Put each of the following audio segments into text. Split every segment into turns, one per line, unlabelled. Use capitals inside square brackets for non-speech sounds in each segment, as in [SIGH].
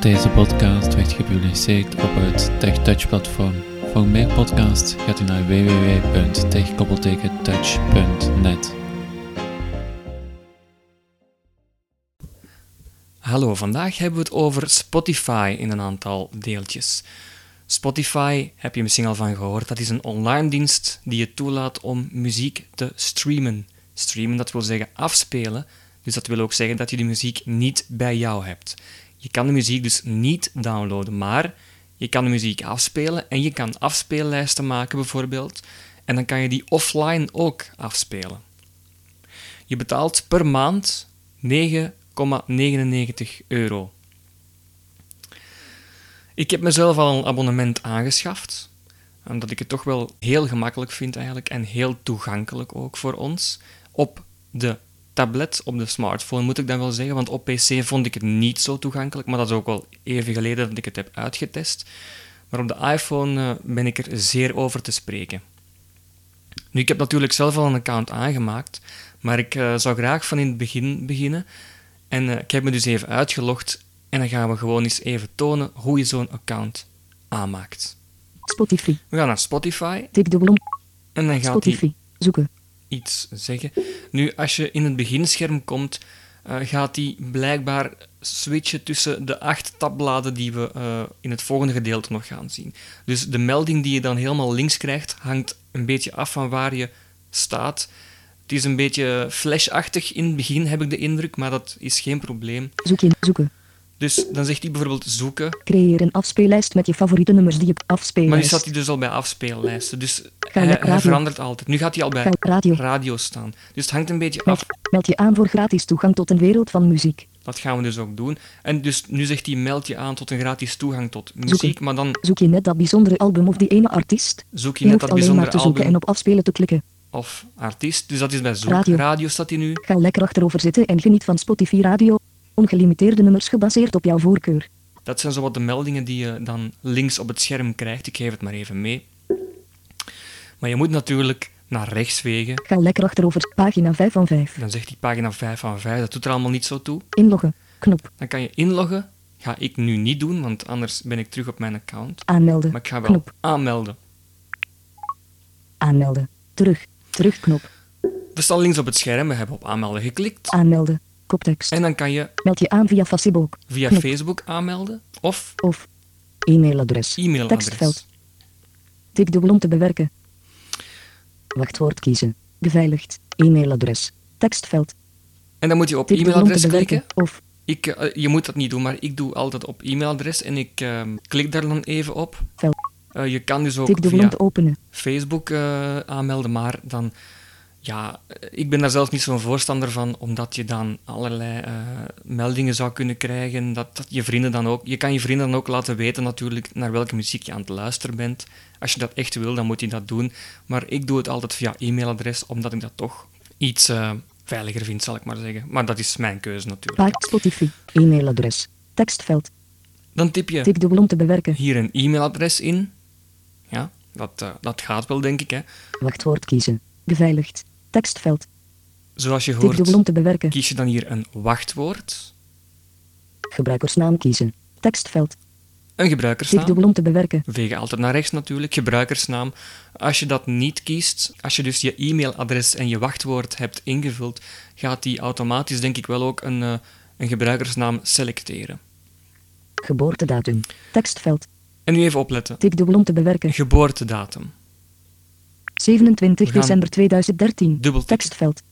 Deze podcast werd gepubliceerd op het TechTouch-platform. Voor meer podcasts gaat u naar www.tech-touch.net.
Hallo, vandaag hebben we het over Spotify in een aantal deeltjes. Spotify, heb je misschien al van gehoord, dat is een online dienst die je toelaat om muziek te streamen. Streamen, dat wil zeggen afspelen, dus dat wil ook zeggen dat je de muziek niet bij jou hebt. Je kan de muziek dus niet downloaden, maar je kan de muziek afspelen en je kan afspeellijsten maken bijvoorbeeld. En dan kan je die offline ook afspelen. Je betaalt per maand 9,99 euro. Ik heb mezelf al een abonnement aangeschaft, omdat ik het toch wel heel gemakkelijk vind eigenlijk en heel toegankelijk ook voor ons. Op de tablet, op de smartphone moet ik dan wel zeggen, want op PC vond ik het niet zo toegankelijk, maar dat is ook al even geleden dat ik het heb uitgetest. Maar op de iPhone eh, ben ik er zeer over te spreken. Nu, ik heb natuurlijk zelf al een account aangemaakt, maar ik eh, zou graag van in het begin beginnen. En eh, ik heb me dus even uitgelogd en dan gaan we gewoon eens even tonen hoe je zo'n account aanmaakt.
Spotify.
We gaan naar Spotify
Tik dubbel om.
en dan gaat hij
Spotify. Zoeken.
iets zeggen. Nu, als je in het beginscherm komt, eh, gaat hij blijkbaar switchen tussen de acht tabbladen die we eh, in het volgende gedeelte nog gaan zien. Dus de melding die je dan helemaal links krijgt, hangt een beetje af van waar je staat. Het is een beetje flashachtig in het begin, heb ik de indruk, maar dat is geen probleem.
Zoek in. Zoeken.
Dus dan zegt hij bijvoorbeeld zoeken,
Creëer een afspeellijst met je favoriete nummers die je afspeelt.
Maar nu staat hij dus al bij afspeellijsten. Dus
naar
hij, hij
radio.
verandert altijd. Nu gaat hij al bij
Ga radio.
radio staan. Dus het hangt een beetje af.
Meld, meld je aan voor gratis toegang tot een wereld van muziek.
Dat gaan we dus ook doen. En dus nu zegt hij meld je aan tot een gratis toegang tot muziek. Maar dan
Zoek je net dat bijzondere album of die ene artiest?
zoek je
Je
net
hoeft
dat
alleen maar
bijzondere
te zoeken
album
en op afspelen te klikken.
of artiest. Dus dat is bij zoek. Radio,
Radio.
staat hij nu.
Ga lekker achterover zitten en geniet van Spotify Radio. Ongelimiteerde nummers gebaseerd op jouw voorkeur.
Dat zijn zowat de meldingen die je dan links op het scherm krijgt. Ik geef het maar even mee. Maar je moet natuurlijk naar rechts wegen.
Ga lekker achterover. Pagina 5 van 5.
Dan zegt hij pagina 5 van 5. Dat doet er allemaal niet zo toe.
Inloggen. Knop.
Dan kan je inloggen. Ga ik nu niet doen, want anders ben ik terug op mijn account.
Aanmelden.
Maar ik ga wel
Knop.
aanmelden.
Aanmelden. Terug. Terugknop.
We staan links op het scherm, we hebben op aanmelden geklikt.
Aanmelden. Koptekst.
En dan kan je
Meld je aan via Facebook.
via
Knop.
Facebook aanmelden of
Of e-mailadres.
e-mailadres.
Tekstveld. Tik dubbel om te bewerken. Wachtwoord kiezen. Beveiligd. E-mailadres. Tekstveld.
En dan moet je op
Tik dubbel om te
e-mailadres
bewerken.
klikken.
Of
Ik, eh, je moet dat niet doen, maar ik doe altijd op e-mailadres en ik eh, klik daar dan even op.
veld.
Eh, je kan dus ook
Tik dubbel om
via
te openen.
Facebook eh, aanmelden, maar dan... Ja, eh, ik ben daar zelf niet zo'n voorstander van, omdat je dan allerlei eh, meldingen zou kunnen krijgen. Dat, dat je vrienden dan ook... Je kan je vrienden dan ook laten weten natuurlijk naar welke muziek je aan het luisteren bent. Als je dat echt wil, dan moet je dat doen. Maar ik doe het altijd via e-mailadres, omdat ik dat toch iets eh, veiliger vind, zal ik maar zeggen. Maar dat is mijn keuze natuurlijk.
Paard Spotify. E-mailadres. Tekstveld.
Dan tip je
Tik dubbel om te bewerken.
hier een e-mailadres in. Ja, dat, eh, dat gaat wel, denk ik. Hè.
Wachtwoord kiezen. Beveiligd. Tekstveld.
Zoals je
Tik dubbel
hoort...
om te bewerken.
kies je dan hier een wachtwoord,
Gebruikersnaam kiezen. Tekstveld.
een
Tik
gebruikersnaam.
dubbel om te bewerken.
Wegen altijd naar rechts natuurlijk, gebruikersnaam. Als je dat niet kiest, als je dus je e-mailadres en je wachtwoord hebt ingevuld, gaat die automatisch denk ik wel ook een, eh, een gebruikersnaam selecteren.
Geboortedatum. Tekstveld.
En nu even opletten.
Tik dubbel om te bewerken.
Geboortedatum.
27
We gaan-
december 2013.
Dubbel tik.
Tekstveld.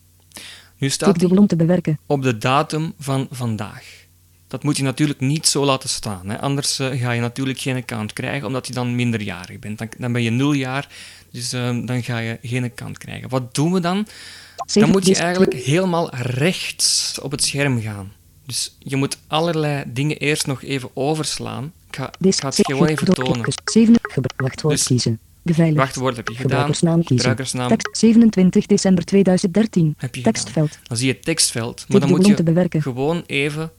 Nu
Tik
staat die
dubbel om te bewerken.
op de datum van vandaag. Dat moet je natuurlijk niet zo laten staan. Hè? Anders eh, ga je natuurlijk geen account krijgen, omdat je dan minderjarig bent. Dan, dan ben je nul jaar, dus eh, dan ga je geen account krijgen. Wat doen we dan? Dan
7
moet je
december-
eigenlijk helemaal rechts op het scherm gaan. Dus je moet allerlei dingen eerst nog even overslaan. Ik ga, ik
Deze
ga het gewoon even tonen.
7 gebruik wachtwoord
Dus-
kiezen. Beveiligd.
Wachtwoord heb je gedaan.
Gebruikersnaam kiezen.
Gebruikersnaam.
Tekst 27 december 2013.
Heb je
Tekstveld.
Dan zie je het tekstveld, maar
Tik
dan
dubbel
moet
om
je
te bewerken.
gewoon even...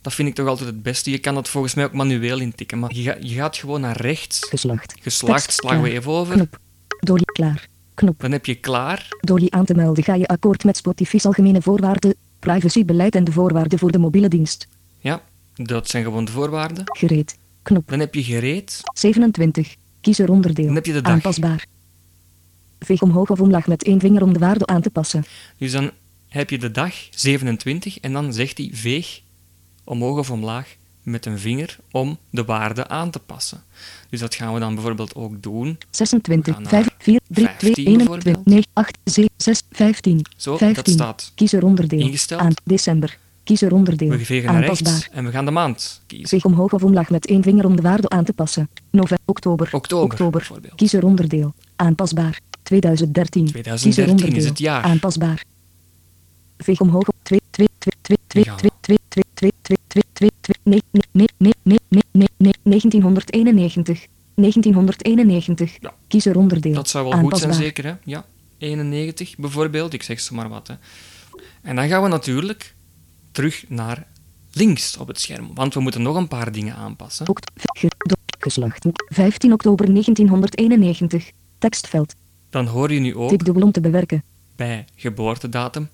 Dat vind ik toch altijd het beste. Je kan dat volgens mij ook manueel intikken, maar je, ga- je gaat gewoon naar rechts.
Geslacht.
Geslacht
Tekst
slaan we
klaar.
even over.
Knop. Door je klaar. Knop.
Dan heb je klaar.
Door je aan te melden ga je akkoord met Spotify's algemene voorwaarden, privacybeleid en de voorwaarden voor de mobiele dienst.
Ja. Dat zijn gewoon de voorwaarden.
Gereed. Knop.
Dan heb je gereed.
27. Kies er onderdeel.
Dan heb je de dag.
Aanpasbaar. Veeg omhoog of omlaag met één vinger om de waarde aan te passen.
Dus dan heb je de dag 27 en dan zegt hij veeg omhoog of omlaag met een vinger om de waarde aan te passen. Dus dat gaan we dan bijvoorbeeld ook doen.
26,
Ga naar
5, 4, 3, 2,
15
21,
bijvoorbeeld.
9, 8, 7, 6, 15.
Zo, dat
15.
staat
Kies er onderdeel.
ingesteld.
Aan december. Kies er onderdeel.
We vegen naar rechts
Aanpasbaar.
en we gaan de maand kiezen.
Veeg omhoog of omlaag met één vinger om de waarde aan te passen. November, oktober.
Oktober, bijvoorbeeld.
Kies er onderdeel. Aanpasbaar. 2013. Kies er
2013 is
onderdeel.
het jaar.
Aanpasbaar. Veeg omhoog op 2, 2, 2, 2, 2,
Ja.
2, 2, 2, 2, 2, 2, 2, 2, 9, 1991. 1991.
Ja.
Kies er onderdeel.
Dat zou wel goed
Aanpasbaar.
zijn, zeker. Hè? Ja, 91 bijvoorbeeld, ik zeg ze maar wat. Hè. En dan gaan we natuurlijk terug naar links op het scherm, want we moeten nog een paar dingen aanpassen.
Okt- ge- do- Geslacht. 15 oktober 1991. Tekstveld.
Dan hoor je nu ook
Tik dubbel om te bewerken.
bij geboortedatum.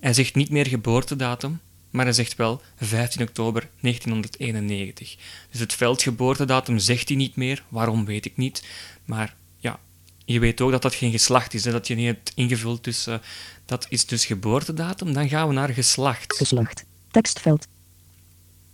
Hij zegt niet meer geboortedatum, maar hij zegt wel 15 oktober 1991. Dus het veld geboortedatum zegt hij niet meer, waarom weet ik niet. Maar ja, je weet ook dat dat geen geslacht is, hè, dat je niet hebt ingevuld. Dus eh, dat is dus geboortedatum. Dan gaan we naar geslacht.
Geslacht. Tekstveld.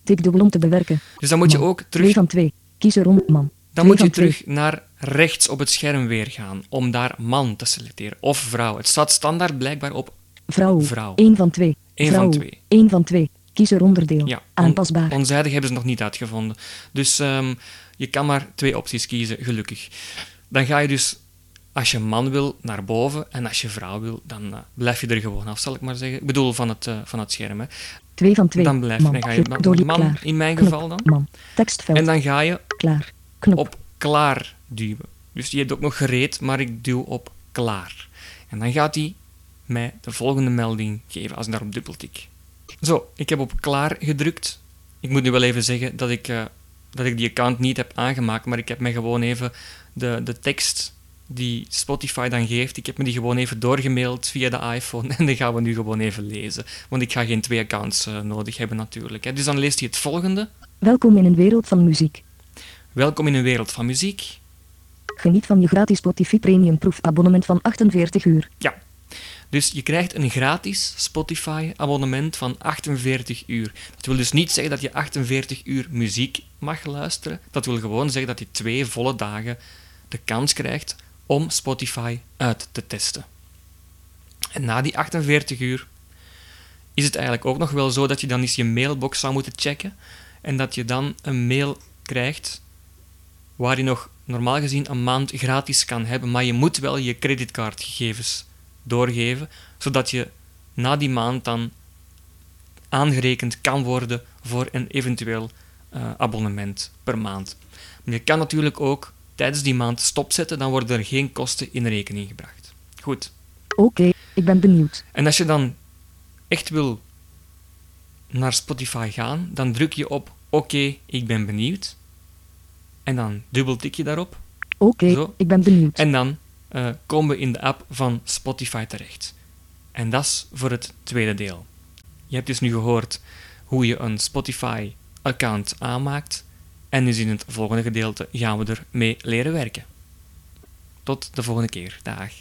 Tik dubbel om te bewerken.
Dus dan moet je
Man.
ook
2
terug,
van 2. Kies erom man. Twee
dan moet je
van twee.
terug naar rechts op het scherm weer gaan om daar man te selecteren of vrouw. Het staat standaard blijkbaar op.
Vrouw.
Vrouw.
1 van 2.
Eén van twee.
1 van 2. Kies er onderdeel.
Ja, on-
Aanpasbaar.
Onzijdig hebben ze het nog niet uitgevonden. Dus ehm, je kan maar twee opties kiezen, gelukkig. Dan ga je dus, als je man wil, naar boven. En als je vrouw wil, dan eh, blijf je er gewoon af, zal ik maar zeggen. Ik bedoel, van het, eh, van het scherm. Hè.
2 van 2.
Dan blijf je,
man.
dan ga je
Ge- door-
man, man
klaar.
in mijn
Knop.
geval dan.
Man. Tekstveld.
En dan ga je
Klaar. Knop.
op klaar duwen. Dus je hebt ook nog gereed, maar ik duw op klaar. En dan gaat hij mij de volgende melding geven als ik daarop dubbeltik. Zo, ik heb op klaar gedrukt. Ik moet nu wel even zeggen dat ik, eh, dat ik die account niet heb aangemaakt, maar ik heb mij gewoon even de, de tekst die Spotify dan geeft, ik heb me die gewoon even doorgemaild via de iPhone [LAUGHS] en die gaan we nu gewoon even lezen. Want ik ga geen twee accounts eh, nodig hebben natuurlijk. Hè. Dus dan leest hij het volgende.
Welkom in een wereld van muziek.
Welkom in een wereld van muziek.
Geniet van je gratis Spotify Premium Proof abonnement van 48 uur.
Ja. Dus je krijgt een gratis Spotify-abonnement van 48 uur. Dat wil dus niet zeggen dat je 48 uur muziek mag luisteren. Dat wil gewoon zeggen dat je twee volle dagen de kans krijgt om Spotify uit te testen. En na die 48 uur is het eigenlijk ook nog wel zo dat je dan eens je mailbox zou moeten checken. En dat je dan een mail krijgt waar je nog normaal gezien een maand gratis kan hebben, maar je moet wel je creditcardgegevens doorgeven, zodat je na die maand dan aangerekend kan worden voor een eventueel eh, abonnement per maand. Maar je kan natuurlijk ook tijdens die maand stopzetten, dan worden er geen kosten in rekening gebracht. Goed.
Oké, ik ben benieuwd.
En als je dan echt wil naar Spotify gaan, dan druk je op oké, ik ben benieuwd. En dan dubbeltik je daarop
Oké,
Zo.
ik ben benieuwd.
en dan eh, komen we in de app van Spotify terecht. En dat is voor het tweede deel. Je hebt dus nu gehoord hoe je een Spotify-account aanmaakt. En dus in het volgende gedeelte gaan we ermee leren werken. Tot de volgende keer. Dag.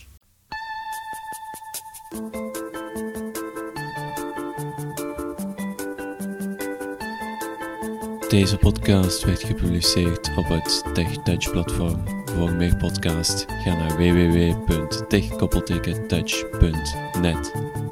Deze podcast werd gepubliceerd op het TechTouch platform. Voor meer podcasts ga naar www.techkoppeltekentouch.net.